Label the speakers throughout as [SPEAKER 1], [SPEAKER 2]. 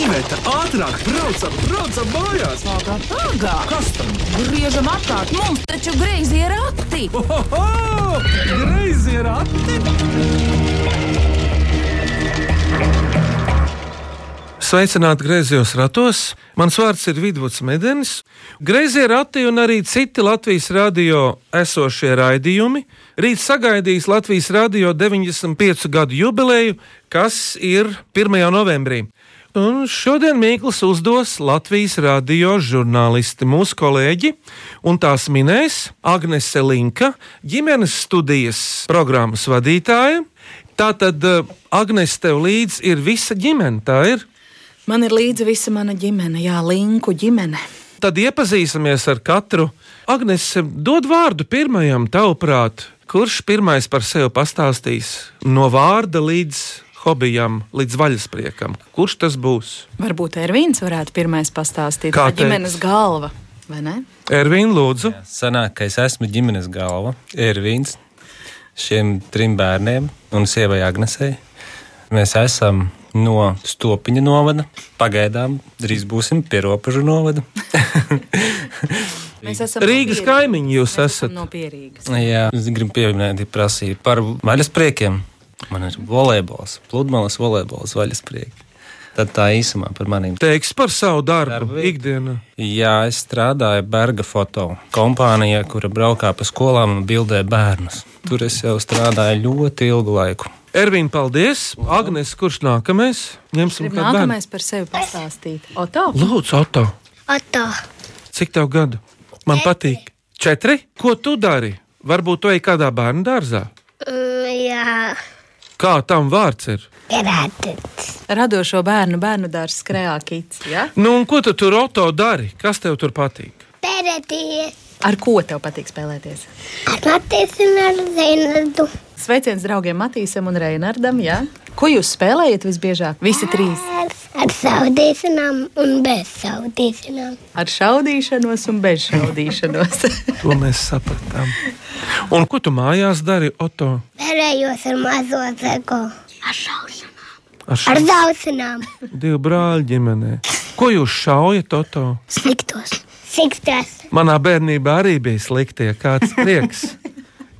[SPEAKER 1] Iveta, ātrāk, braucam, braucam mājās!
[SPEAKER 2] Ātrāk, ātrāk!
[SPEAKER 1] Kas tam?
[SPEAKER 2] Griežam atkārt, mums taču greizi ir rati!
[SPEAKER 1] Oho! Greizi ir ati!
[SPEAKER 3] Sveicināti griezos ratos. Mans vārds ir Vidvuds Medenis. Griezie rati un arī citi Latvijas radio esošie raidījumi. Rīt sagaidīs Latvijas radio 95. gadu jubileju, kas ir 1. novembrī. Un šodien Mikls uzdos Latvijas radio žurnālisti, mūsu kolēģi, un tās minēs Agnese Linka, ģimenes studijas programmas vadītāja. Tātad eh, Agnese tev līdzi ir visa ģimene, tā ir.
[SPEAKER 4] Man ir līdzi visa mana ģimene, Jā, Linku ģimene.
[SPEAKER 3] Tad iepazīsimies ar katru. Agnēs, dod vārdu pirmajam, tavuprāt, kurš pirmais par sevi pastāstīs no vārda līdz hobijam, līdz vaļaspriekam? Kurš tas būs?
[SPEAKER 4] Varbūt Ervīns varētu pirmais pastāstīt,
[SPEAKER 3] Kā
[SPEAKER 4] kā
[SPEAKER 3] teikt?
[SPEAKER 4] ģimenes galva. vai ne?
[SPEAKER 3] Ervīna, lūdzu.
[SPEAKER 5] Sanāk, ka es esmu ģimenes galva, Ervīns, šiem trim bērniem un sievai Agnesei. Mēs esam no Stopiņa novada. Pagaidām drīz būsim pie robežu novada.
[SPEAKER 4] Mēs esam
[SPEAKER 3] Rīgas
[SPEAKER 4] no Pierīgas.
[SPEAKER 3] kaimiņi jūs
[SPEAKER 4] Mēs esam
[SPEAKER 3] esat.
[SPEAKER 4] No Pierīgas.
[SPEAKER 5] Jā, es gribu pieminēt, ir prasība par vaļaspriekiem. Man ir volejbols, pludmales volejbols, vaļasprieki. Tad tā īsumā par maniem.
[SPEAKER 3] Teiks par savu darbu,
[SPEAKER 5] Darbu.
[SPEAKER 3] ikdienu.
[SPEAKER 5] Jā, es strādāju Berga foto kompānijā, kura braukā pa skolām un bildē bērnus. Tur es jau strādāju ļoti ilgu laiku.
[SPEAKER 3] Ervīna, paldies. Agnēs, kurš nākamais? Ņemsim
[SPEAKER 4] Gribu
[SPEAKER 3] kādu bērnu.
[SPEAKER 4] nākamais par sevi pastāstīt. Oto,
[SPEAKER 3] Lūdzu, Otto,
[SPEAKER 6] Oto,
[SPEAKER 3] cik tev gadu? Man patīk. Četri? Ko tu dari? Varbūt tu ej kādā bērnu dārzā.
[SPEAKER 6] mm, jā,
[SPEAKER 3] Kā tam vārds ir?
[SPEAKER 6] grāmatā.
[SPEAKER 4] radošo bērnu bērnu dārzs Kreākīts. Ja?
[SPEAKER 3] Nu, un ko tu tur auto dari? Kas tev tur patīk?
[SPEAKER 6] Pēdējais
[SPEAKER 4] Ar ko tev patīk spēlēties?
[SPEAKER 6] ar Latvijas un ar Zēnadu.
[SPEAKER 4] Sveiciens draugiem Matīsam un Reinardam. Ja? Ko jūs spēlējat visbiežāk? Visi trīs.
[SPEAKER 6] Ar, ar saudīšanām un bez saudīšanām.
[SPEAKER 4] Ar šaudīšanos un bez šaudīšanos.
[SPEAKER 3] To mēs sapratām. Un ko tu mājās dari, Oto?
[SPEAKER 6] Pērējos ar mazo zego. Ar šaušanām. Ar
[SPEAKER 3] Ar šo
[SPEAKER 6] zaušanām.
[SPEAKER 3] divu brāļu ģimenē. Ko jūs šaujat, Oto?
[SPEAKER 6] Sliktos. Sliktos.
[SPEAKER 3] Manā bērnībā arī bija sliktie. Kāds prieks,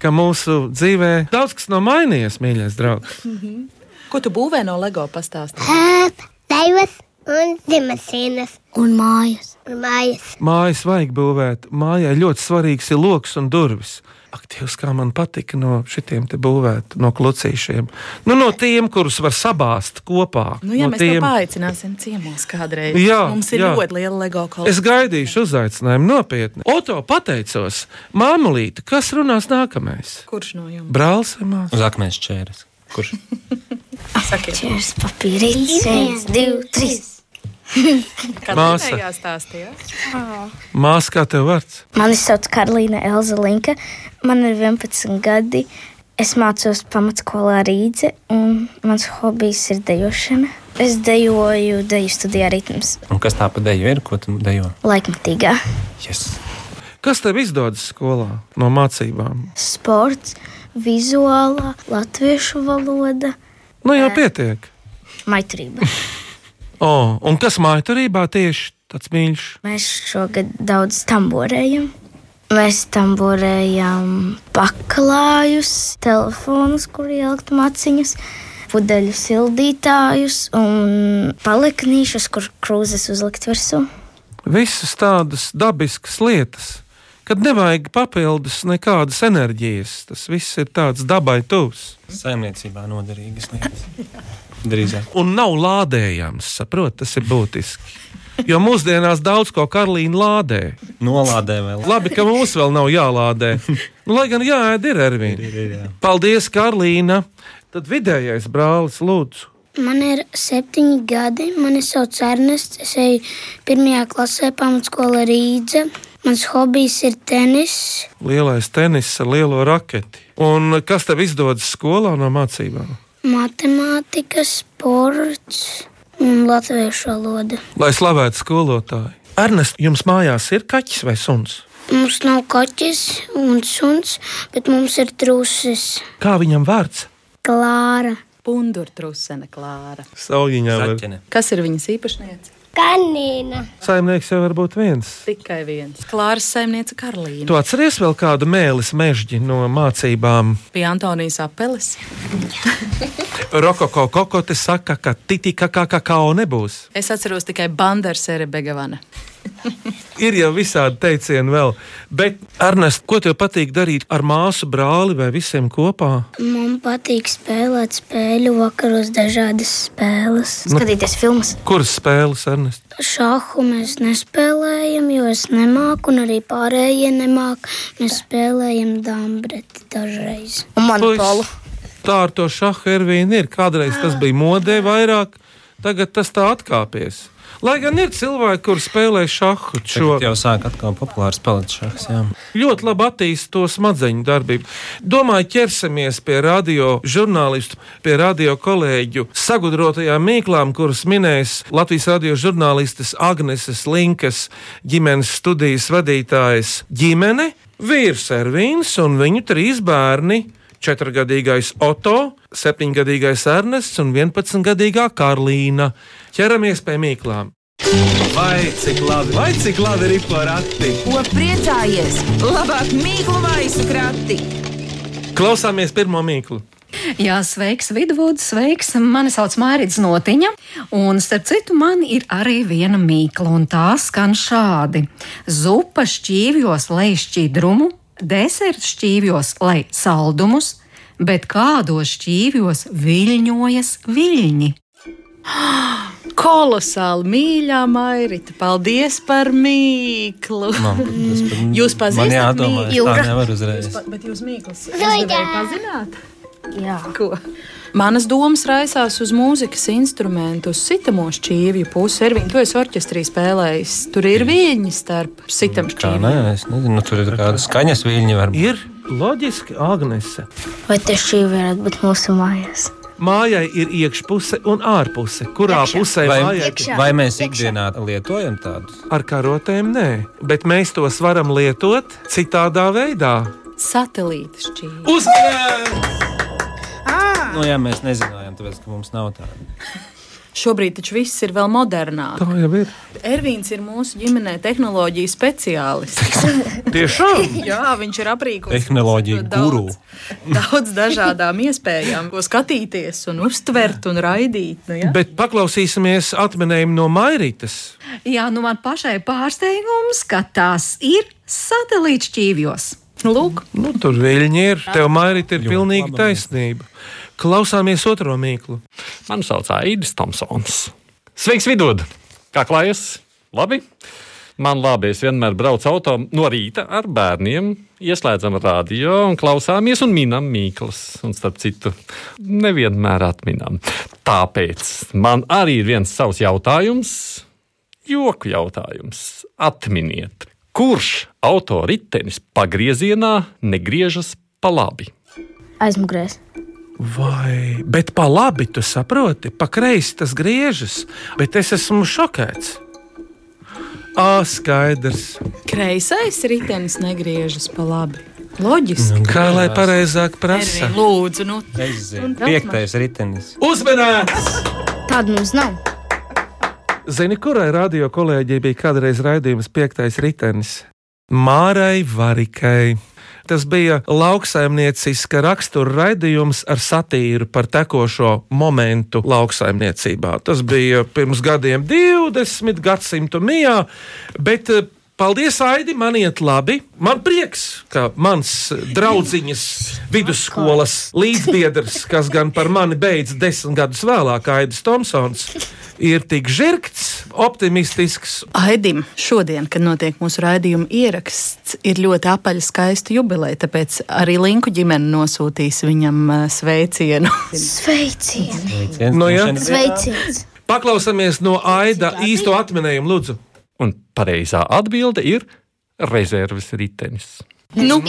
[SPEAKER 3] ka mūsu dzīvē daudz kas nav mainījies, mīļais draugs.
[SPEAKER 4] ko tu būvē no LEGO pastāstīt?
[SPEAKER 6] Ēp, Laivas un zemasienas. Un mājas. Un mājas.
[SPEAKER 3] Mājas vajag būvēt. Mājai ļoti svarīgs ir lokus un durvis. Aktīvs, kā man patika no šitiem te būvēt, no klucīšiem. Nu, no tiem, kurus var sabāzt kopā.
[SPEAKER 4] Nu, jā,
[SPEAKER 3] no
[SPEAKER 4] mēs
[SPEAKER 3] tiem...
[SPEAKER 4] tev paaicināsim ciemos kādreiz.
[SPEAKER 3] Jā,
[SPEAKER 4] Mums ir
[SPEAKER 3] jā.
[SPEAKER 4] ļoti liela LEGO kolekcija.
[SPEAKER 3] Es gaidīšu uzaicinājumu nopietni. Oto pateicos, māmulīte, kas runās nākamais?
[SPEAKER 4] Kurš no jums?
[SPEAKER 3] Brālis vai māsa?
[SPEAKER 5] Uz akmens čēres. Kurš?
[SPEAKER 4] Sakiet,
[SPEAKER 7] Čers, papīrītis, viens, divi, trīs.
[SPEAKER 3] Māsa.
[SPEAKER 4] kādā veidā stāstījāt?
[SPEAKER 3] Māsa, kā tev vārds?
[SPEAKER 7] Mani sauc Karolīna Elza Linka, man ir 11 gadi. Es mācos pamatskolā Rīdze, un mans hobijs ir dejošana. Es dejoju deju studijā ritms,
[SPEAKER 5] Un kas tā pa deju ir? Ko tu dejo?
[SPEAKER 7] laikmatīgā.
[SPEAKER 5] Yes.
[SPEAKER 3] Kas tev izdodas skolā no mācībām?
[SPEAKER 7] Sports, vizuālā, latviešu valoda,
[SPEAKER 3] Nu, jau pietiek.
[SPEAKER 7] maitrība.
[SPEAKER 3] O, un kas mājturībā tieši tāds mīļš?
[SPEAKER 7] Mēs šogad daudz tamborējam. Mēs tamborējam paklājus, telefonus, kur ielikt maciņas, pudeļu sildītājus un paliknīšus, kur krūzes uzlikt virsū.
[SPEAKER 3] Visas tādas dabiskas lietas, kad nevajag papildus nekādas enerģijas. Tas viss ir tāds dabai tuvs.
[SPEAKER 5] Saimniecībā noderīgas lietas. Drīzāk.
[SPEAKER 3] un nav lādējams. Saprot, tas ir būtiski. Jo mūsdienās daudz ko Karolīna lādē.
[SPEAKER 5] Nolādē vai
[SPEAKER 3] Labi, ka mums vēl nav jālādē. Nu, lai gan jāēd ir Ervīna.
[SPEAKER 5] labi?
[SPEAKER 3] Paldies, Karolīna. Tad vidējais brālis Lūdzu.
[SPEAKER 8] Man ir septiņi gadi. Mani sauc Ernests. Es eju pirmajā klasē, pamatskola Rīdze. Mans hobijs ir tenis.
[SPEAKER 3] Lielais tenis ar lielo raketi. Un kas tev izdodas skolā no mācībām?
[SPEAKER 8] Matemātika, sports un latviešu valoda.
[SPEAKER 3] Lai slavētu skolotāju. Ernest, jums mājās ir kaķis vai suns?
[SPEAKER 8] Mums nav kaķis un suns, bet mums ir trūcis
[SPEAKER 3] Kā viņam vārds?
[SPEAKER 8] Klāra.
[SPEAKER 4] Pundurtrusene Klāra.
[SPEAKER 3] Sauļiņā var.
[SPEAKER 5] Zaķene.
[SPEAKER 4] Kas ir viņas īpašniece?
[SPEAKER 6] Kanīna.
[SPEAKER 3] Saimnieks jau var būt viens.
[SPEAKER 4] Tikai viens. Klāras saimniece Karolīna.
[SPEAKER 3] Tu atceries vēl kādu mēlis mežģi no mācībām?
[SPEAKER 4] Pie Antonijas apeles.
[SPEAKER 3] Rokoko kokote saka, ka titika kā kakao nebūs.
[SPEAKER 4] Es atceros tikai Bandersere Begavana.
[SPEAKER 3] Ir jau visādi teicieni vēl. Bet, Ernest, ko tev patīk darīt ar māsu, brāli vai visiem kopā?
[SPEAKER 8] Man patīk spēlēt spēļu vakaros dažādas spēles.
[SPEAKER 7] Skatīties filmas.
[SPEAKER 3] Kuras spēles, Ernest?
[SPEAKER 8] Šāhu mēs nespēlējam, jo es nemāku, un arī pārējie nemāku. Mēs spēlējam dambreti dažreiz.
[SPEAKER 7] Un monopolu.
[SPEAKER 3] Puisis, Tā ar to šādu ervīnu ir. Kādreiz tas bija modē vairāk, tagad tas tā atkāpies. Lai gan ir cilvēki, kur spēlē šādu šo
[SPEAKER 5] Tagad jau sāk atkal populārs palikt šāds.
[SPEAKER 3] ļoti labi attīstītu to smadzeņu darbību. Domāju, ķersimies pie radio žurnālistu, pie radio kolēģu sagudrotajām mīklām, kuras minēs Latvijas radio žurnālistes Agneses Linkas ģimenes studijas vadītājas ģimene, vīrs Ervīns un viņu trīs bērni. Četrgadīgais Oto, septiņgadīgais Ernests un vienpadsmitgadīgā Karlīna. Ķeramies pie mīklām.
[SPEAKER 1] Vai cik labi, vai cik labi ripo rati?
[SPEAKER 2] Ko priecājies? Labāk mīklu maisu krati.
[SPEAKER 3] Klausāmies pirmo mīklu.
[SPEAKER 9] Jā, sveiks, Vidvuds, sveiks. Mani sauc Mārcis Notiņa, un starp citu, man ir arī viena mīkla, un tā skan šādi: zupa šķīvjos, lai šķīdrumu, deserts šķīvjos, lai saldumus, bet kādos šķīvjos viļņojas viļņi.
[SPEAKER 4] Kolosāli mīļā Mairita, paldies par mīklu!
[SPEAKER 5] Man, tas, pat-
[SPEAKER 4] Jūs
[SPEAKER 5] man
[SPEAKER 4] pazīstat
[SPEAKER 5] jādomā, es tā
[SPEAKER 7] Jūra?
[SPEAKER 5] nevar uzreiz.
[SPEAKER 4] Bet jūs mīklas
[SPEAKER 6] Zoidā!
[SPEAKER 4] zināt,
[SPEAKER 7] Jā.
[SPEAKER 4] ko? Manas domas raisās uz mūzikas instrumentu, uz sitamo šķīvju pusi. Ir viņa, to es orķestrī spēlējis. Tur ir viļņi starp sitam
[SPEAKER 5] Kā
[SPEAKER 4] šķīvjiem.
[SPEAKER 5] nē, es nezinu, nu, tur ir kāda skaņas viļņa varbūt.
[SPEAKER 3] Ir loģiski, Agnese.
[SPEAKER 7] Vai te šī varētu būt mūsu mājās?
[SPEAKER 3] Mājai ir iekšpuse un ārpuse. Kurā
[SPEAKER 7] Iekšā.
[SPEAKER 3] pusē
[SPEAKER 5] Vai,
[SPEAKER 3] mājai
[SPEAKER 7] Iekšā.
[SPEAKER 5] vai mēs ikdienā lietojam tādus?
[SPEAKER 3] ar karotēm? Nē, bet mēs tos varam lietot citādā veidā.
[SPEAKER 4] Satelīta šķīvja.
[SPEAKER 3] Uzmanīgi!
[SPEAKER 5] Nu, jā, mēs nezinājām, tāpēc, ka mums nav tādu.
[SPEAKER 4] Šobrīd taču viss ir vēl modernāk.
[SPEAKER 3] Tā jau ir.
[SPEAKER 4] Ervīns ir mūsu ģimenē tehnoloģija speciālists.
[SPEAKER 3] Tiešām!
[SPEAKER 4] Jā, viņš ir aprīkojis
[SPEAKER 5] Tehnoloģiju guru.
[SPEAKER 4] Daudz dažādām iespējām, ko skatīties, un uztvert un raidīt. Nu, ja?
[SPEAKER 3] Bet paklausīsimies atminējumu no Mairītas.
[SPEAKER 9] Jā, nu man pašai pārsteigums, ka tās ir satelīts šķīvjos.
[SPEAKER 4] Lūk,
[SPEAKER 3] Nu, tur viļņi ir. Tev Mairīta ir pilnīgi taisnība. Klausāmies otro mīklu.
[SPEAKER 10] Mani sauc Aidis Tomsons. Sveiks, vidūda! Kā klājas? Labi! Man labi, es vienmēr braucu auto no rīta ar bērniem, ieslēdzam radio un klausāmies un minam mīklas. Un starp citu, nevienmēr atminam. Tāpēc man arī ir viens savs jautājums, joku jautājums. Atminiet, kurš autoritenis pagriezienā negriežas pa labi?
[SPEAKER 7] Aizmugurēs.
[SPEAKER 3] Vai, bet pa labi tu saproti, pa kreisi tas griežas, bet es esmu šokēts. Ā, skaidrs.
[SPEAKER 4] kreisais ritenis negriežas pa labi. Loģiski.
[SPEAKER 3] Kā lai pareizāk prasa?
[SPEAKER 4] Ervīn, Lūdzu, nu,
[SPEAKER 5] Es zinu,
[SPEAKER 4] Un daudz
[SPEAKER 5] piektais ritenis.
[SPEAKER 3] Uzmanīgs!
[SPEAKER 7] Tādu mums nav.
[SPEAKER 3] Zini, kurai radio kolēģijai bija kādreiz raidījums piektais ritenis? Mārai Varikai. Tas bija lauksaimnieciska rakstura raidījums ar satīru par tekošo momentu lauksaimniecībā. Tas bija pirms gadiem 20 gadsimtu mijā, bet eh, paldies, Aidi, man iet labi. Man prieks, ka mans eh, draudziņas vidusskolas līdzbiedrs, kas gan par mani beidz desmit gadus vēlāk, Aidis Tomsons, ir tik žirgts, optimistisks.
[SPEAKER 4] Aidim, šodien, kad notiek mūsu raidījuma ieraksts, ir ļoti apaļa skaista jubileja, tāpēc arī Linku ģimene nosūtīs viņam eh, sveicienu.
[SPEAKER 6] Sveicieni!
[SPEAKER 5] Sveiciens
[SPEAKER 3] Nu, jā.
[SPEAKER 5] dzimšanas
[SPEAKER 6] Sveiciens!
[SPEAKER 3] Paklausāmies no Aida īsto atminējumu, lūdzu.
[SPEAKER 10] Un pareizā atbilde ir rezerves ritenis.
[SPEAKER 4] nu,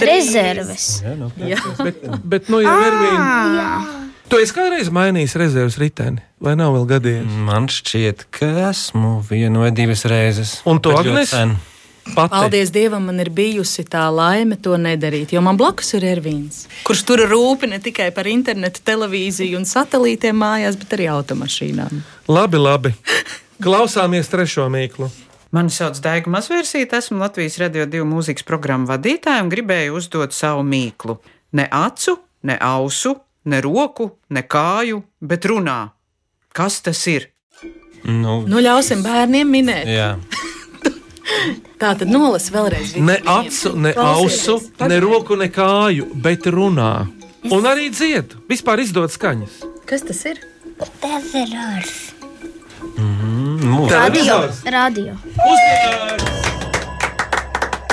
[SPEAKER 7] Rezerves.
[SPEAKER 5] dienā, nu,
[SPEAKER 3] Bet, nu, jau ir viena. Tu esi kādreiz mainījis rezerves riteni, vai nav vēl gadiem?
[SPEAKER 5] Man šķiet, ka esmu vienu vai divas reizes.
[SPEAKER 3] Un tu,
[SPEAKER 5] Bet ļoti
[SPEAKER 3] Agnes?
[SPEAKER 5] sen.
[SPEAKER 3] Pati.
[SPEAKER 4] Paldies Dievam, man ir bijusi tā laime to nedarīt, jo man blakus ir Ervīns, kurš tur rūp ne tikai par internetu, televīziju un satelītiem mājās, bet arī automašīnām.
[SPEAKER 3] Labi, labi. Klausāmies trešo mīklu.
[SPEAKER 11] Mani sauc Daiga Mazvērsīte, esmu Latvijas Radio 2 mūzikas programmu vadītāja un gribēju uzdot savu mīklu. Ne acu, ne ausu, ne roku, ne kāju, bet runā. Kas tas ir?
[SPEAKER 5] Nu,
[SPEAKER 4] Nu, ļausim bērniem minēt.
[SPEAKER 5] jā.
[SPEAKER 4] Tā tad nolas vēlreiz.
[SPEAKER 3] Ne acu, ne
[SPEAKER 4] Klausieties.
[SPEAKER 3] ausu, ne roku, ne kāju, bet runā. Un arī dzied. Vispār izdod skaņas.
[SPEAKER 4] Kas tas ir?
[SPEAKER 6] Tas ir ārs.
[SPEAKER 3] Televizors.
[SPEAKER 7] Radio.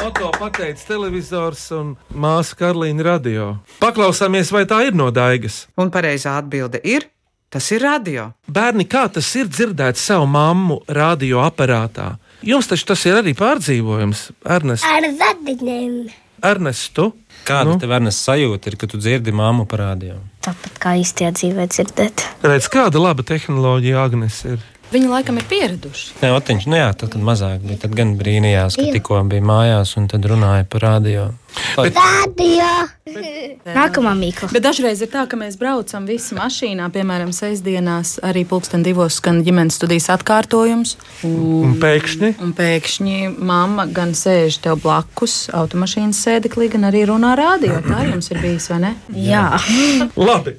[SPEAKER 3] Oto pateica televizors un māsa Karlīna radio. Paklausāmies, vai tā ir no Daigas.
[SPEAKER 11] Un pareizā atbilde ir: tas ir radio.
[SPEAKER 3] Bērni, kā tas ir dzirdēt savu mammu radioaparātā? Jums taču tas ir arī pārdzīvojums, Ernest.
[SPEAKER 6] Ar zadiņiem.
[SPEAKER 3] Ernestu.
[SPEAKER 5] Kāda nu? tev ir sajūta, ir, kad tu dzirdi māmu parādījumu?
[SPEAKER 7] Tāpat kā īstajā dzīvē dzirdēt.
[SPEAKER 3] Redz, kāda laba tehnoloģija Agnes ir.
[SPEAKER 4] Viņi laikam ir pieraduši.
[SPEAKER 5] Nē, Otiņš, nu jā, tad, kad mazāk bija, tad gan brīnījās, ka tikko bija mājās un tad runāja par radio. Bet...
[SPEAKER 6] Radio.
[SPEAKER 7] Nākamā mīkla.
[SPEAKER 4] Bet dažreiz ir tā, ka mēs braucam visi mašīnā, piemēram, sestdienās, arī pulksten divos skan ģimenes studijas atkārtojums.
[SPEAKER 3] Un pēkšņi
[SPEAKER 4] Un pēkšņi mamma gan sēž tev blakus automašīnas sēdeklī, gan arī runā rādio. Tā jums ir bijis, vai ne?
[SPEAKER 7] Jā.
[SPEAKER 3] Labi.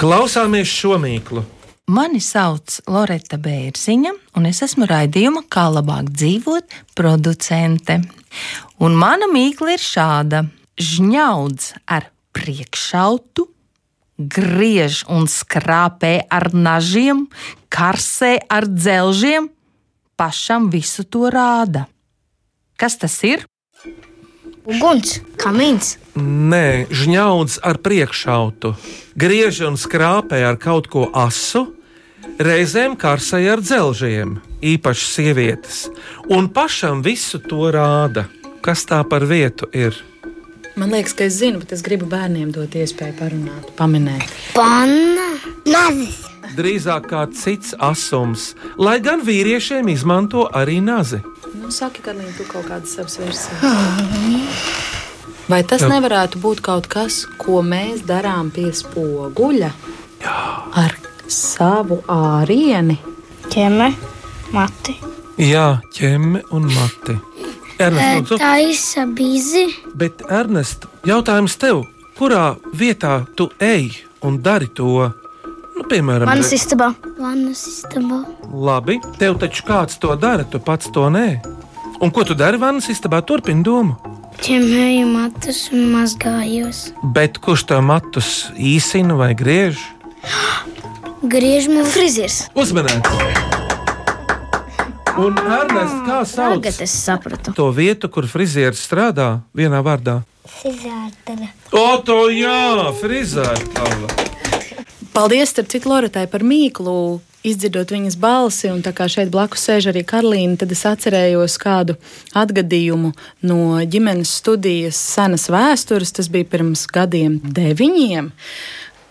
[SPEAKER 3] Klausāmies šo mīklu.
[SPEAKER 12] Mani sauc Loreta Bērziņa, un es esmu raidījuma Kā labāk dzīvot, producente. Un mana mīkla ir šāda: žņaudz ar priekšautu, griež un skrāpē ar nažiem, karsē ar dzelžiem, pašam visu to rāda. Kas tas ir?
[SPEAKER 7] Uguns, kamīns.
[SPEAKER 3] Nē, žņaudz ar priekšautu, griež un skrāpē ar kaut ko asu, reizēm karsai ar dzelžiem, īpaši sievietes, un pašam visu to rāda. Kas tā par vietu ir?
[SPEAKER 4] Man liekas, ka es zinu, bet es gribu bērniem dot iespēju parunāt, pamanīt.
[SPEAKER 6] Panna. Nazis.
[SPEAKER 3] Drīzāk kā cits asums, lai gan vīriešiem izmanto arī nazi.
[SPEAKER 4] Nu, saki, kad viņi tur kaut kādas savas versijas. Vai tas
[SPEAKER 3] Jā.
[SPEAKER 4] nevarētu būt kaut kas, ko mēs darām pie spoguļa? Jā. Ar savu ārieni.
[SPEAKER 7] Ķeme, mati.
[SPEAKER 3] Jā, ķemme un mati. Ernest, lūdzu.
[SPEAKER 8] Tā ir sabīzi.
[SPEAKER 3] Bet, Ernest, jautājums tev, kurā vietā tu ej un dari to? Nu, piemēram,
[SPEAKER 7] Manas istabā.
[SPEAKER 8] Vannas istabā.
[SPEAKER 3] labi, tev taču kāds to dara, tu pats to nē. Un ko tu dari vannas istabā? Turpini domu.
[SPEAKER 8] Ķemēju matus un mazgājos.
[SPEAKER 3] Bet kurš tev matus īsina vai griež?
[SPEAKER 8] Griežmu
[SPEAKER 7] frizieris.
[SPEAKER 3] Uzmanīgs! Un Ernest, kā sauc
[SPEAKER 7] Tagad es sapratu.
[SPEAKER 3] to vietu, kur frizieris strādā vienā vārdā?
[SPEAKER 6] Sizārtara.
[SPEAKER 3] O, to jā, frizētava!
[SPEAKER 4] Paldies, starp citu, Loretai par mīklu. Izdzirdot viņas balsi, un tā kā šeit blakus sēž arī Karolīna, tad es atcerējos kādu atgadījumu no ģimenes studijas senas vēstures. Tas bija pirms gadiem, deviņiem.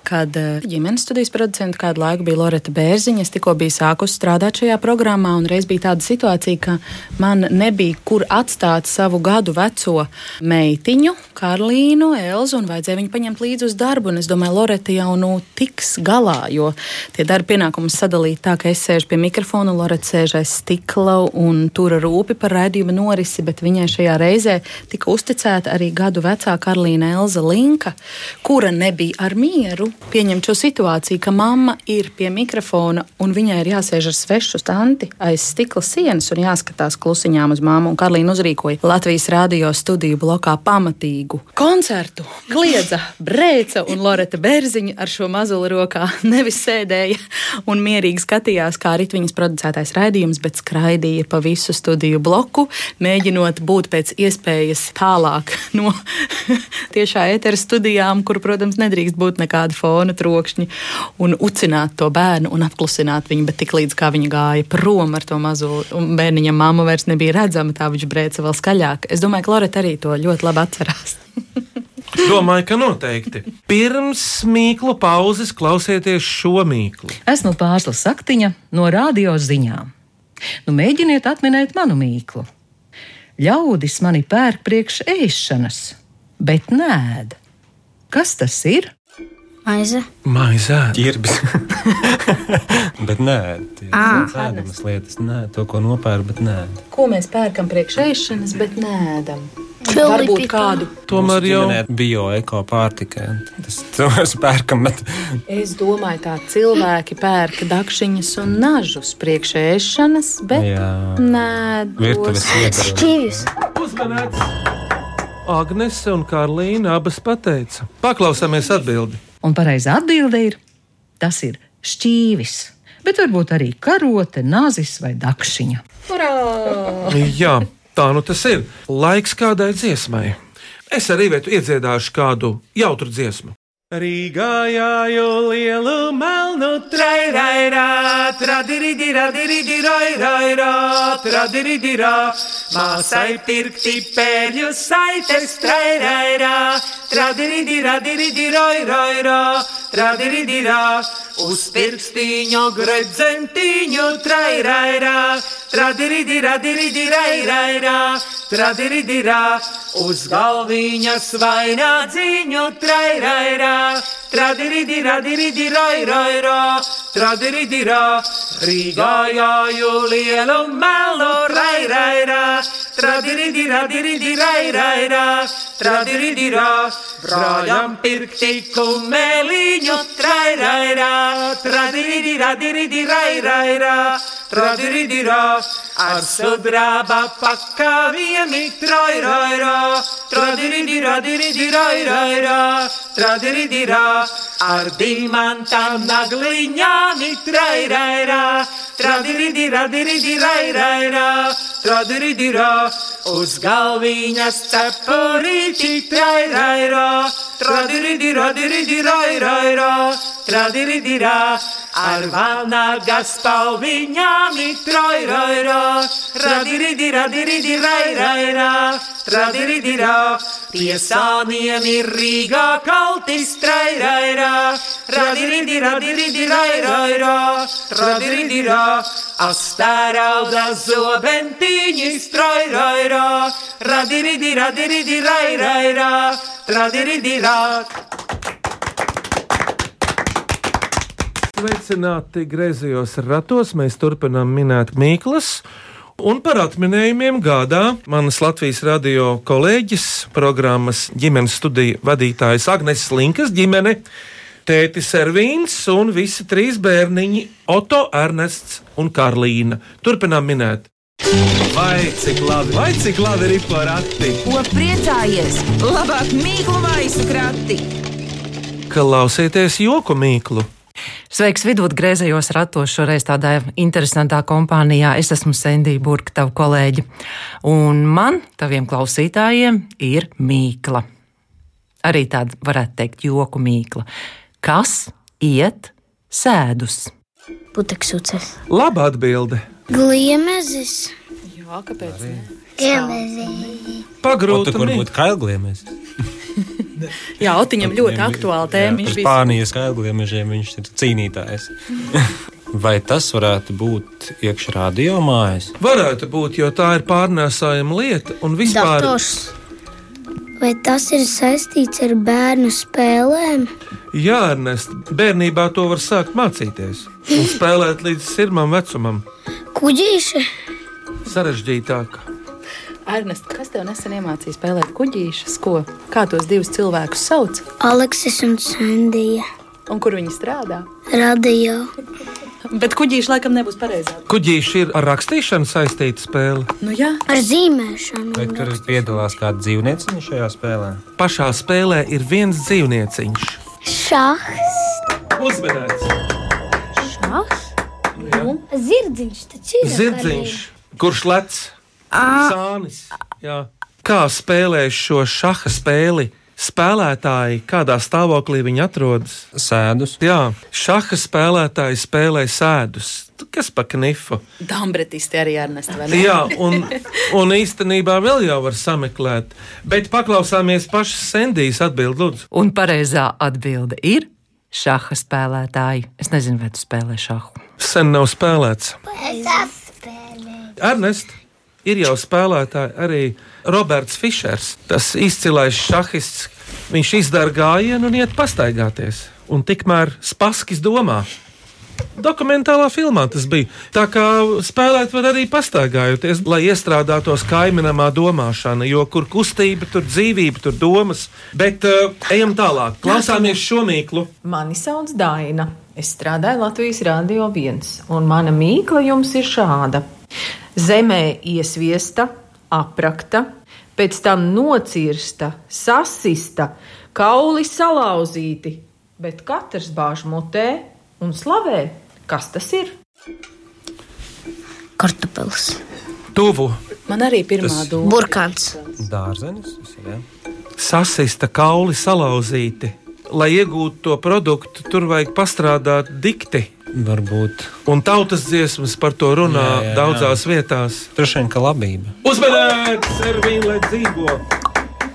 [SPEAKER 4] Kad eh, ģimenes studijas producents kādu laiku bija Lorita Bērziņa, es tikko biju sākusi strādāt šajā programmā, un reiz bija tāda situācija, ka man nebija kur atstāt savu gadu veco meitiņu, Karlīnu, Elzu, un vajadzēja viņu paņemt līdzi uz darbu. Un es domāju, Lorita jau nu tiks galā, jo tie darba pienākumi sadalīti tā, ka es sēžu pie mikrofona, Lorita sēž aiz stikla un tura rūpi par raidījuma norisi, bet viņai šajā reizē tika uzticēta arī gadu vecā Karolīna Elza Linka, kura nebija ar mieru pieņemt šo situāciju, ka mamma ir pie mikrofona un viņai ir jāsēž ar svešu stanti aiz stikla sienas un jāskatās klusiņām uz māmu. Un Karolīna uzrīkoja Latvijas radio studiju blokā pamatīgu koncertu. Kliedza, brēca un Loreta Bērziņa ar šo mazuli rokā nevis sēdēja un mierīgi skatījās, kā arī viņas producētais raidījums, bet skraidīja pa visu studiju bloku, mēģinot būt pēc iespējas tālāk no tiešā etera studijām, kur, protams, nedrīkst būt nekāda fona trokšņa, un ucināt to bērnu un apklusināt viņu. Bet tik līdz kā viņa gāja prom ar to mazo bērniņa, māmu vairs nebija redzama, tā viņš brēca vēl skaļāk. Es domāju, ka Loreta arī to ļoti labi atcerās.
[SPEAKER 3] Domāju, ka noteikti. Pirms mīklu pauzes klausieties šo mīklu.
[SPEAKER 13] Esmu pārsla saktiņa no radio ziņām. Nu, mēģiniet atminēt manu mīklu. Ļaudis mani pērk priekš ēšanas, bet nēd. Kas tas ir?
[SPEAKER 7] Maize.
[SPEAKER 3] Maizē.
[SPEAKER 5] Ķirbis. bet nē,
[SPEAKER 4] Ā.
[SPEAKER 5] tas ir ēdamas lietas. Nē, to, ko nopērk, bet nē.
[SPEAKER 4] Ko mēs pērkam priekš ēšanas, bet nēdam?
[SPEAKER 7] Čili
[SPEAKER 4] Varbūt kādu.
[SPEAKER 3] Tomēr
[SPEAKER 5] jau bio-eko pārtika. Tas cilvēks pērkam, bet
[SPEAKER 4] Es domāju, tā cilvēki pērk dakšiņas un nažus priekš ēšanas, bet
[SPEAKER 3] Jā.
[SPEAKER 4] nē,
[SPEAKER 3] Virtuves iedarbi. Šķīvis.
[SPEAKER 4] Uzmanīts!
[SPEAKER 3] Agnese un Karlīna abas pateica. Paklausāmies atbildi.
[SPEAKER 13] Un pareizā atbilde ir: tas ir šķīvis, bet varbūt arī karote, nazis vai dakšiņa.
[SPEAKER 3] Jā, tā nu tas ir. Laiks kādai dziesmai. Es arī vietu iedziedāšu kādu jautru dziesmu.
[SPEAKER 1] Rīgā jau lielu melnu trairā, tradirā, trairā, tradirā, māsai pirkti pēļu saites trairā, tradirā, trairā, tradirā, uz pirkstiņu gredzentiņu trairā, tradirā, trairā, tradirā, uz galviņa svainā dziņu trairā, tradirā, trairā, tradirā, Rīgā jāju lielu melo rairā, tradirā, trairā, tradirā, brāļam pirkti kumeliņu trairā, tradirā, trairā, tradirā, ar sudraba pakavieni trairā, tradirā, trairā, tradirā, ar dimantam nagliņām trairā, tradirā, trairā, tradirā, uz galviņas cepurīti trairā, tradirā, trairā, tradirā, ar vanaga spalviņām trairā, tradirā, trairā, tradirā, Piesāniem ir Rīgā kaltis trairā, radiridi, radiridi, rairā, radiridira, astārauda zobentiņi trairā, radiridi, radiridi, rairā, radiridira.
[SPEAKER 3] Sveicināti griezījos ratos. Mēs turpinām minēt Mīklas. Un par atminējumiem gādā manas Latvijas radio kolēģis, programmas ģimenes studiju vadītājs Agnēs Linkas ģimene, tētis Ervīns un visi trīs bērniņi Oto, Ernests un Karlīna. Turpinām minēt.
[SPEAKER 1] Vai cik labi, vai cik labi ir porati?
[SPEAKER 2] Ko priecājies? Labāk mīklu maisu krati!
[SPEAKER 3] Klausieties joku mīklu!
[SPEAKER 14] Sveiks, vidot griezējos ratos, šoreiz tādā interesantā kompānijā. Es esmu Sandija Burka, tava kolēģi. Un man, taviem klausītājiem, ir mīkla. Arī tāda varētu teikt, joku mīkla. Kas iet sēdus?
[SPEAKER 7] Puteksuces.
[SPEAKER 3] Labā atbilde!
[SPEAKER 8] Gliemezis.
[SPEAKER 4] Jā, kāpēc?
[SPEAKER 8] Gliemezis.
[SPEAKER 3] Pagrūti,
[SPEAKER 5] kur būtu kailgliemies.
[SPEAKER 4] Jā, Otiņam ļoti aktuāla tēma.
[SPEAKER 5] Par
[SPEAKER 4] Viņš bija
[SPEAKER 5] Spānijas kailgliemiežiem viņš ir cīnītājs. Vai tas varētu būt iekšā radiomājas?
[SPEAKER 3] Varētu būt, jo tā ir pārnēsājama lieta un vispār.
[SPEAKER 8] Dators. Vai tas ir saistīts ar bērnu spēlēm?
[SPEAKER 3] Jā, Ernest, bērnībā to var sākt mācīties un spēlēt līdz sirmam vecumam.
[SPEAKER 8] Kuģīši.
[SPEAKER 3] Sarežģītāk.
[SPEAKER 4] Ernest, kas tev nesen iemācīja spēlēt kuģīšas? Ko? Kā tos divus cilvēkus sauc?
[SPEAKER 8] Aleksis un Sandija.
[SPEAKER 4] Un kur viņi strādā?
[SPEAKER 8] Radio.
[SPEAKER 4] Bet kuģīši laikam nebūs pareizā.
[SPEAKER 3] Kuģīši ir ar rakstīšanu saistīta spēle.
[SPEAKER 4] Nu, jā.
[SPEAKER 8] Ar zīmēšanu.
[SPEAKER 5] Vai tur piedalās kāda dzīvnieciņa šajā spēlē?
[SPEAKER 3] Pašā spēlē ir viens dzīvnieciņš.
[SPEAKER 6] Šahs.
[SPEAKER 3] Uzmanīts.
[SPEAKER 6] Šahs?
[SPEAKER 15] Nu
[SPEAKER 6] Nu, Zirdziņš taču ir.
[SPEAKER 3] Zirdziņš, kurš lec? Sānis. Jā. Kā spēlē šo šaha spēli? Spēlētāji, kādā stāvoklī viņi atrodas?
[SPEAKER 5] Sēdus.
[SPEAKER 3] Jā, šaha spēlētāji spēlē sēdus. Tu Kas pa knifu?
[SPEAKER 4] Dambretisti arī Ernest, vai ne?
[SPEAKER 3] Jā, un, un īstenībā vēl jau var sameklēt. Bet paklausāmies pašas Sandijas atbildē, lūdzu.
[SPEAKER 14] Un pareizā atbilde ir šaha spēlētāji. Es nezinu, vai tu spēlē šahu.
[SPEAKER 3] Sen nav spēlēts.
[SPEAKER 6] Es esmu.
[SPEAKER 3] Ernest, ir jau spēlētāji arī Roberts Fischers, tas izcilais šahists. Viņš izdara gājienu un iet pastaigāties. Un tikmēr Spaskis domā. Dokumentālā filmā tas bija. Tā kā spēlēt var arī pastaigājoties, lai iestrādātos kaimiņamā domāšana, jo kur kustība, tur dzīvība, tur domas. Bet uh, ejam tālāk, klausāmies šo mīklu.
[SPEAKER 16] Mani sauc Daina. Es strādāju Latvijas Rādio 1, un mana mīkla jums ir šāda. Zemē iesviesta, aprakta, pēc tam nocirsta, sasista, kauli salauzīti, bet katrs bāž mutē un slavē. Kas tas ir?
[SPEAKER 7] Kartupils.
[SPEAKER 3] Tuvu
[SPEAKER 4] Man arī pirmā
[SPEAKER 3] Tas-
[SPEAKER 4] doma.
[SPEAKER 7] Burkāns.
[SPEAKER 5] Dārzenis. tas ir, jā.
[SPEAKER 3] sasista kauli salauzīti. Lai iegūtu to produktu, tur vajag pastrādāt dikti.
[SPEAKER 5] Varbūt.
[SPEAKER 3] Un tautas dziesmas par to runā jā, jā,
[SPEAKER 5] Jā, jā,
[SPEAKER 3] jā. daudzās vietās.
[SPEAKER 5] Droši vien, ka labība.
[SPEAKER 3] Uzmanīgs, Servija, lai dzīvo!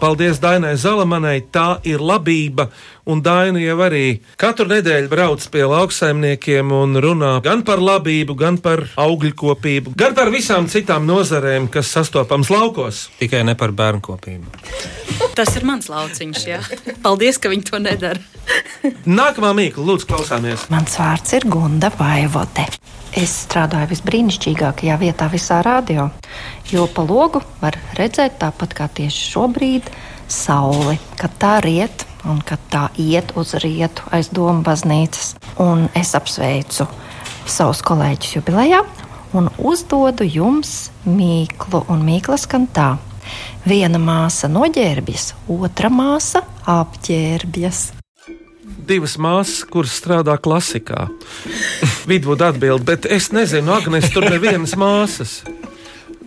[SPEAKER 3] Paldies Dainai Zalamanai, tā ir labība. Un Daina jau arī katru nedēļu brauc pie lauksaimniekiem un runā gan par labību, gan par augļkopību, gan par visām citām nozarēm, kas sastopams laukos.
[SPEAKER 5] Tikai ne par bērnkopību.
[SPEAKER 4] Tas ir mans lauciņš. Jā. Paldies, ka viņi to nedara.
[SPEAKER 3] Nākamā mīkla, lūdzu, klausāmies.
[SPEAKER 17] Mans vārds ir Gunda Vaivote. Es strādāju visbrīnišķīgākajā vietā visā radio, jo pa logu var redzēt tāpat kā tieši šobrīd sauli, kad tā riet un kad tā iet uz rietu aiz domu baznīcas. Un es apsveicu savus kolēģus jubilejā un uzdodu jums mīklu, un mīkla skan tā. Viena māsa noģērbjas, otra māsa apģērbjas.
[SPEAKER 3] divas māsas, kuras strādā klasikā. Vidvuda atbild, bet es nezinu, Agnēs, tur nevienas māsas.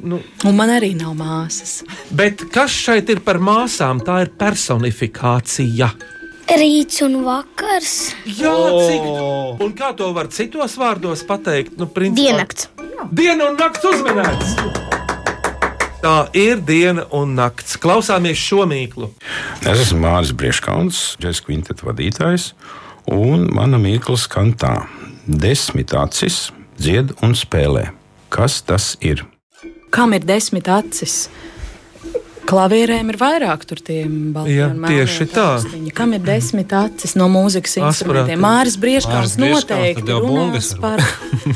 [SPEAKER 3] Nu,
[SPEAKER 4] Un man arī nav māsas.
[SPEAKER 3] bet kas šeit ir par māsām? Tā ir personifikācija.
[SPEAKER 8] Rīts un vakars.
[SPEAKER 3] Jā, cik, un kā to var citos vārdos pateikt? Nu, Diennakts. Diena un nakts uzmanēts! Tā ir diena un nakts. Klausāmies šo mīklu.
[SPEAKER 18] Es esmu Mārcis Kriņškauns, Džeks Kvinteta vadītājs, un mana mīkla skan tā: desmit acis dzied un spēlē. Kas tas ir?
[SPEAKER 4] Kam ir desmit acis? Klavierēm ir vairāk tur tiem
[SPEAKER 3] Jā,
[SPEAKER 4] balsīm.
[SPEAKER 3] tieši tā.
[SPEAKER 4] Kam ir desmit acis no mūzikas
[SPEAKER 3] Aspirātiem.
[SPEAKER 4] instrumentiem? Māris
[SPEAKER 3] Māris
[SPEAKER 4] Brieškāns
[SPEAKER 3] Brieškauns,
[SPEAKER 4] noteikti
[SPEAKER 3] tad jau
[SPEAKER 4] runās
[SPEAKER 3] bungas
[SPEAKER 4] par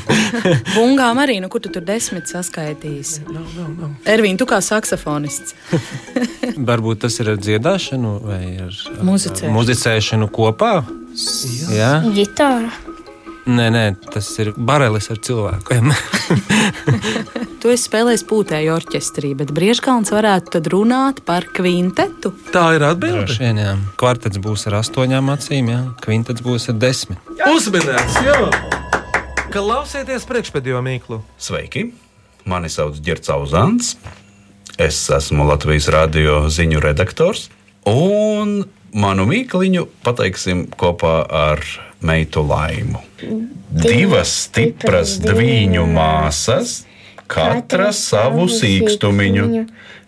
[SPEAKER 4] bungām arī. Nu, kur tu tur desmit saskaitīs? Ervīn, tu kā saksofonists.
[SPEAKER 5] Varbūt tas ir ar dziedāšanu vai ar ar
[SPEAKER 4] Muzicēšanu.
[SPEAKER 5] muzicēšanu kopā. Jā,
[SPEAKER 7] Gitāra.
[SPEAKER 5] nē, nē, tas ir barelis ar cilvēkiem.
[SPEAKER 4] Tu esi spēlējis pūtēju orķestrī, bet Brieškāns varētu tad runāt par kvintetu.
[SPEAKER 3] Tā ir
[SPEAKER 5] Droši vien, jā. Kvartets būs ar astoņām acīm, jā. kvintets būs ar desmit.
[SPEAKER 3] Uzmanēts, jā! Klausieties priekšpēdējo mīklu.
[SPEAKER 15] Sveiki! Mani sauc Girts Uzants. Es esmu Latvijas radio ziņu redaktors. Un manu mīkliņu pateiksim kopā ar meitu Laimu. Divas stipras dviņu māsas, katra savu sīkstumiņu.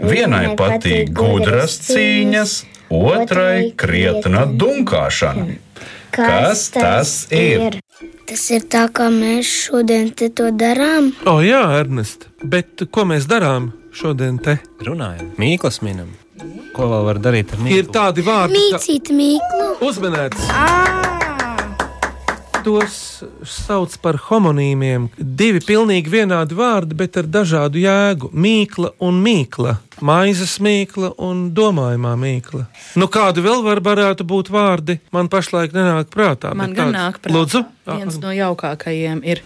[SPEAKER 15] Vienai patīk gudras cīņas, otrai krietna dunkāšana. Kas tas ir?
[SPEAKER 8] Tas ir tā, kā mēs šodien te to darām.
[SPEAKER 3] O, jā, Ernest, bet ko mēs darām šodien te?
[SPEAKER 5] Runājam, mīklas minam. Ko vēl var darīt ar
[SPEAKER 3] Ir
[SPEAKER 5] mīklu?
[SPEAKER 3] tādi vārdi,
[SPEAKER 8] Mīcīt, mīklu.
[SPEAKER 3] Uzmanēts! Tos sauc par homonīmiem. Divi pilnīgi vienādi vārdi, bet ar dažādu jēgu. Mīkla un mīkla. Maizes mīkla un domājumā mīkla. Nu, kādi vēl var, varētu būt vārdi, man pašlaik nenāk prātā.
[SPEAKER 4] Man
[SPEAKER 3] bet
[SPEAKER 4] gan
[SPEAKER 3] tāds-
[SPEAKER 4] nāk
[SPEAKER 3] Lūdzu,
[SPEAKER 4] prātā. Viens no jaukākajiem ir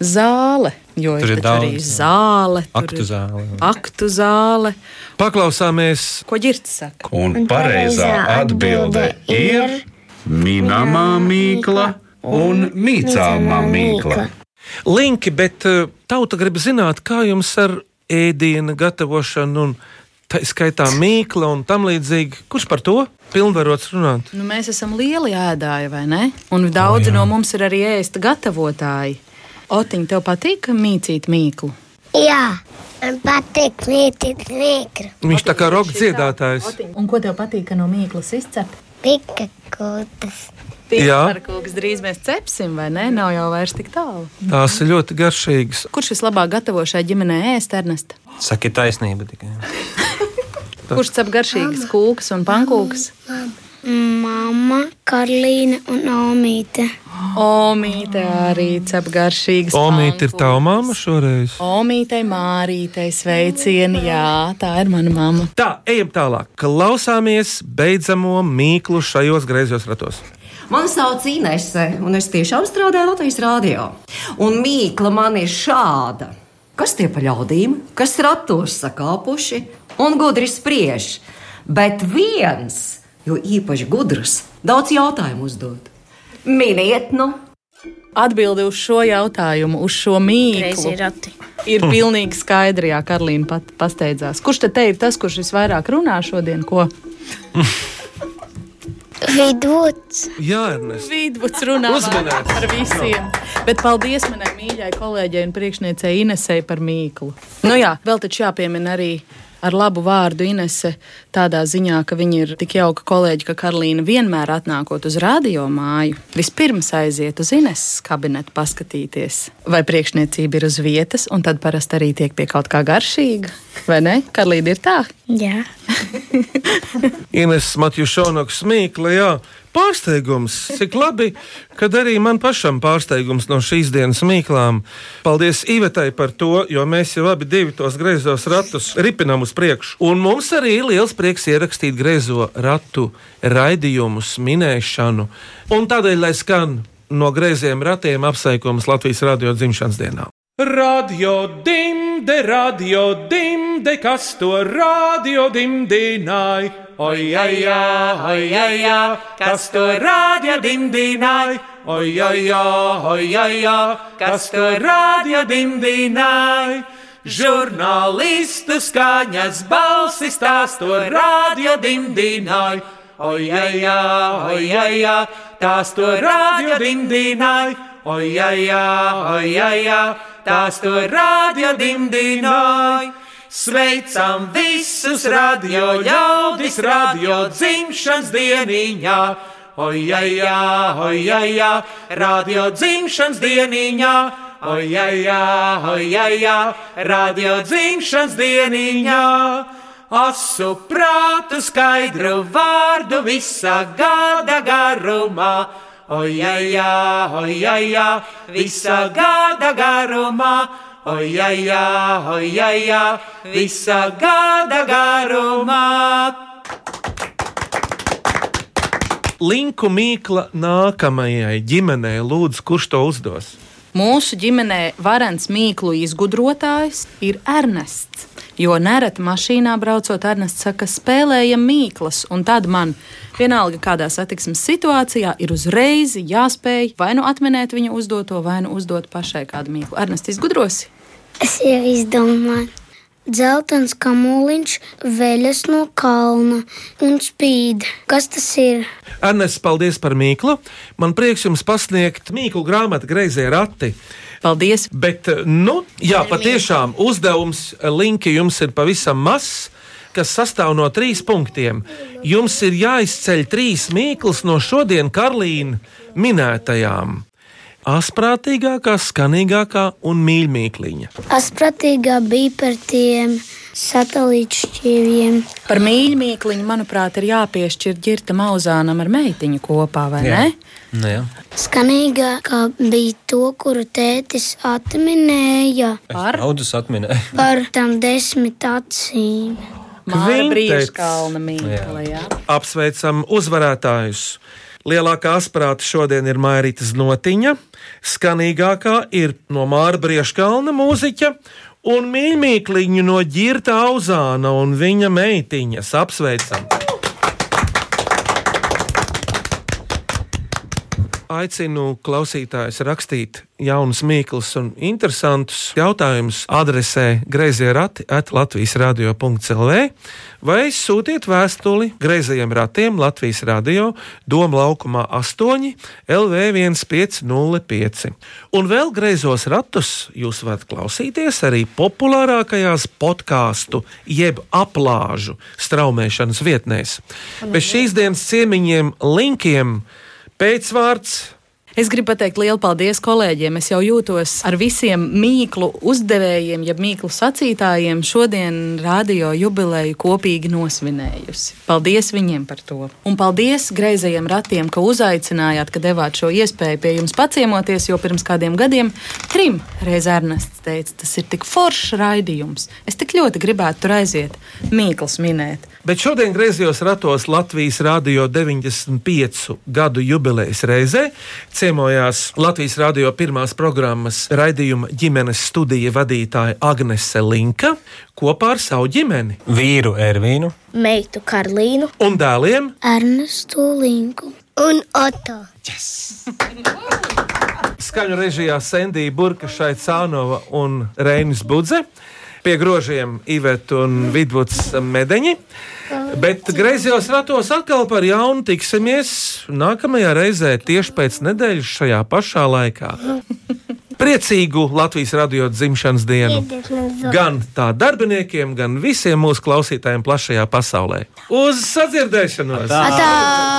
[SPEAKER 4] zāle. Jo
[SPEAKER 3] Tur
[SPEAKER 4] ir,
[SPEAKER 3] ir
[SPEAKER 4] taču arī
[SPEAKER 3] daudz, jā.
[SPEAKER 4] zāle, tur
[SPEAKER 3] Aktu
[SPEAKER 4] ir
[SPEAKER 3] zāle.
[SPEAKER 4] aktu zāle.
[SPEAKER 3] Paklausāmies,
[SPEAKER 4] ko ģirts saka.
[SPEAKER 15] Un pareizā atbilde ir minamā mīkla un mīcāmā mīkla.
[SPEAKER 3] Linki, bet eh, tauta grib zināt, kā jums ar ēdienu gatavošanu un tā skaitā mīkla un tam līdzīgi. Kurš par to pilnvarots runāt?
[SPEAKER 4] Nu, mēs esam lieli ēdāji, vai ne? Un daudzi no mums ir arī ēst gatavotāji. Otiņ, tev patīk mīcīt mīklu?
[SPEAKER 6] Jā, man patīk mītīt mīkru.
[SPEAKER 3] Viņš tā kā roka dziedātājs.
[SPEAKER 4] Un ko tev patīk, ka no mīklas izcep?
[SPEAKER 6] Pika kūtas.
[SPEAKER 3] Jā.
[SPEAKER 4] Piparkūks drīz mēs cepsim, vai ne? Nav jau vairs tik tālu.
[SPEAKER 3] Tās ir ļoti garšīgas.
[SPEAKER 4] Kurš vislabāk gatavo šai ģimenei ēst, Ernesta?
[SPEAKER 5] Saki taisnība tikai.
[SPEAKER 4] Kurš cep garšīgas kūkas un pankūkas?
[SPEAKER 8] Mama, Karlīna un Omīte.
[SPEAKER 4] Omīte arī cep garšīgas.
[SPEAKER 3] Omīte ir tava mamma šoreiz.
[SPEAKER 4] Omītei, Mārītei, sveicieni. Jā, tā ir mana mamma.
[SPEAKER 3] Tā, ejam tālāk. Klausāmies beidzamo mīklu šajos greizos ratos.
[SPEAKER 19] Mani sauc Inese, un es tiešām strādāju Latvijas rādio. Un mīkla man ir šāda. Kas tie pa ļaudīm, kas ratos sakāpuši un gudri spriež, bet viens, jo īpaši gudrs, daudz jautājumu uzdod. Miniet, nu,
[SPEAKER 4] Atbilde uz šo jautājumu, uz šo mīklu.
[SPEAKER 7] Greizi rati.
[SPEAKER 4] Ir pilnīgi skaidrs, kā Karlīna pat pasteidzās. Kurš tad te ir tas, kurš visvairāk runā šodien? Ko?
[SPEAKER 6] Vidvuds.
[SPEAKER 3] Jā, Ernest.
[SPEAKER 4] Vidvuds runā
[SPEAKER 3] Uzmanēts.
[SPEAKER 4] vairāk par visiem. Bet paldies manai mīļai kolēģei un priekšniecei Inesei par mīklu. Nu jā, vēl taču jāpiemina arī. Ar labu vārdu Inese, tādā ziņā, ka viņa ir tik jauka kolēģe, ka Karolīna vienmēr atnākot uz radio māju, vispirms aiziet uz Ineses kabinetu, paskatīties, vai priekšniecība ir uz vietas, un tad parasti arī tiek pie kaut kā garšīga. Vai ne? Karolīna ir tā.
[SPEAKER 7] Jā.
[SPEAKER 3] Ines Matjušonoks mīkla, jā. Pārsteigums, cik labi, kad arī man pašam pārsteigums no šīs dienas mīklām. Paldies Ivetai par to, jo mēs jau abi divi tos greizos ratus ripinām uz priekšu. Un mums arī ir liels prieks ierakstīt greizo ratu raidījumus, minēšanu. Un tādēļ, lai skan no greiziem ratiem apsveikums Latvijas radio dzimšanas dienā. Radio dimde, radio dimde, kas to radio dimdināja? Oi, ai, jā, oi, ai, jā, kas to radio dimdināja? Oi, ai, jā, oi, ai, jā, kas to radio dimdināja? Žurnālistu skaņas balsis tās to radio dimdināja. Oi, ai, jā, oi, ai, jā, tās to radio dimdināja. Oi, ai, jā, oi, ai, jā, tās to radio dimdināja. Sveicam visus radio ļaudis, radio dzimšanas dieniņā. Oi, ai, jā, oi, ai, jā, radio dzimšanas dieniņā. Oi, ai, jā, oi, ai, jā, radio dzimšanas dieniņā. Asu prātu skaidru vārdu visā gada garumā. Oi, ai, jā, oi, ai, jā, visā gada garumā. Oi, ai, jā, oi, ai, jā, visā gada garumā. Linku mīkla nākamajai ģimenei, lūdzu, kurš to uzdos?
[SPEAKER 4] Mūsu ģimenē varants mīklu izgudrotājs ir Ernests. Jo nereti mašīnā braucot, Ernests saka, spēlējam mīklas, un tad man vienalga, kādā satiksmes situācijā, ir uzreiz jāspēj vai nu atminēt viņa uzdoto, vai nu uzdot pašai kādu mīklu. Ernests izgudrosi.
[SPEAKER 8] Es jau izdomāju. Zeltens kamuliņš veļas no kalna un spīd. Kas tas ir?
[SPEAKER 3] Ernests, paldies par mīklu. Man prieks jums pasniegt mīklu grāmatu Greizē rati.
[SPEAKER 4] Paldies!
[SPEAKER 3] Bet, nu, jā, patiešām uzdevums eh, Linki jums ir pavisam mazs. Kas sastāv no trīs punktiem. Jums ir jāizceļ trīs mīklas no šodienas Karlīna minētajām. Asprātīgākā, skanīgākā un mīļākā.
[SPEAKER 8] Aspratīgā bija par tiem satelītšķīviem.
[SPEAKER 4] Par mīļumīkliņu, manuprāt, ir jāpiešķir ģirta mauzānam ar meitiņu kopā, vai
[SPEAKER 5] Jā.
[SPEAKER 4] ne?
[SPEAKER 5] Nu, jā.
[SPEAKER 8] Skanīgākā bija to, kuru tētis atminēja
[SPEAKER 5] Ar daudzus atminēju.
[SPEAKER 8] par tam desmit acīm.
[SPEAKER 4] Māra
[SPEAKER 3] Kvintets.
[SPEAKER 4] Brīškalna mīkla, jā.
[SPEAKER 3] Apsveicam uzvarētājus. Lielākā asprāta šodien ir Mairīta Znotiņa, skanīgākā ir no Māra Brieškalna mūziķa un mīmīkliņu no Girta Auzāna un viņa meitiņas. Apsveicam! Aicinu klausītājus rakstīt jaunus, mīklus un interesantus jautājumus adresē grazījā rati atlatvijas radio.cl vai sūtiet vēstuli grazījiem ratiem Latvijas radio Doma laukumā 8 LV1505. Un vēl greizos ratus jūs varat klausīties arī populārākajās podkāstu jeb aplāžu straumēšanas vietnēs. Bez šīs dienas ciemiņiem linkiem Pēcvārds.
[SPEAKER 4] Es gribu pateikt lielu paldies kolēģiem. Es jau jūtos ar visiem mīklu uzdevējiem, ja mīklu sacītājiem šodien radio jubileju kopīgi nosvinējusi. Paldies viņiem par to. Un paldies greizajiem ratiem, ka uzaicinājāt, ka devāt šo iespēju pie jums paciemoties, jo pirms kādiem gadiem trim reiz Ernests teica, tas ir tik foršs raidījums. Es tik ļoti gribētu tur aiziet, mīklas minēt.
[SPEAKER 3] Bet šodien griezījos ratos Latvijas Rādio 95. gadu jubilejas reizē. Ciemojās Latvijas Rādio pirmās programmas raidījuma ģimenes studija vadītāja Agnese Linka kopā ar savu ģimeni
[SPEAKER 5] Vīru Ervīnu
[SPEAKER 6] Meitu Karlīnu,
[SPEAKER 3] un dēliem.
[SPEAKER 6] Ernestu Linku un Oto.
[SPEAKER 3] Skaņu režijā Sandija Burka, Šaita Cānova un Reinis Budze. Pie grožiem Iveta un Vidvuds Medeņi. Bet griezījos ratos atkal par jaunu. Tiksimies nākamajā reizē tieši pēc nedēļas šajā pašā laikā. Priecīgu Latvijas radio dzimšanas dienu gan tā darbiniekiem, gan visiem mūsu klausītājiem plašajā pasaulē. Uz sadzirdēšanos!
[SPEAKER 6] Atā!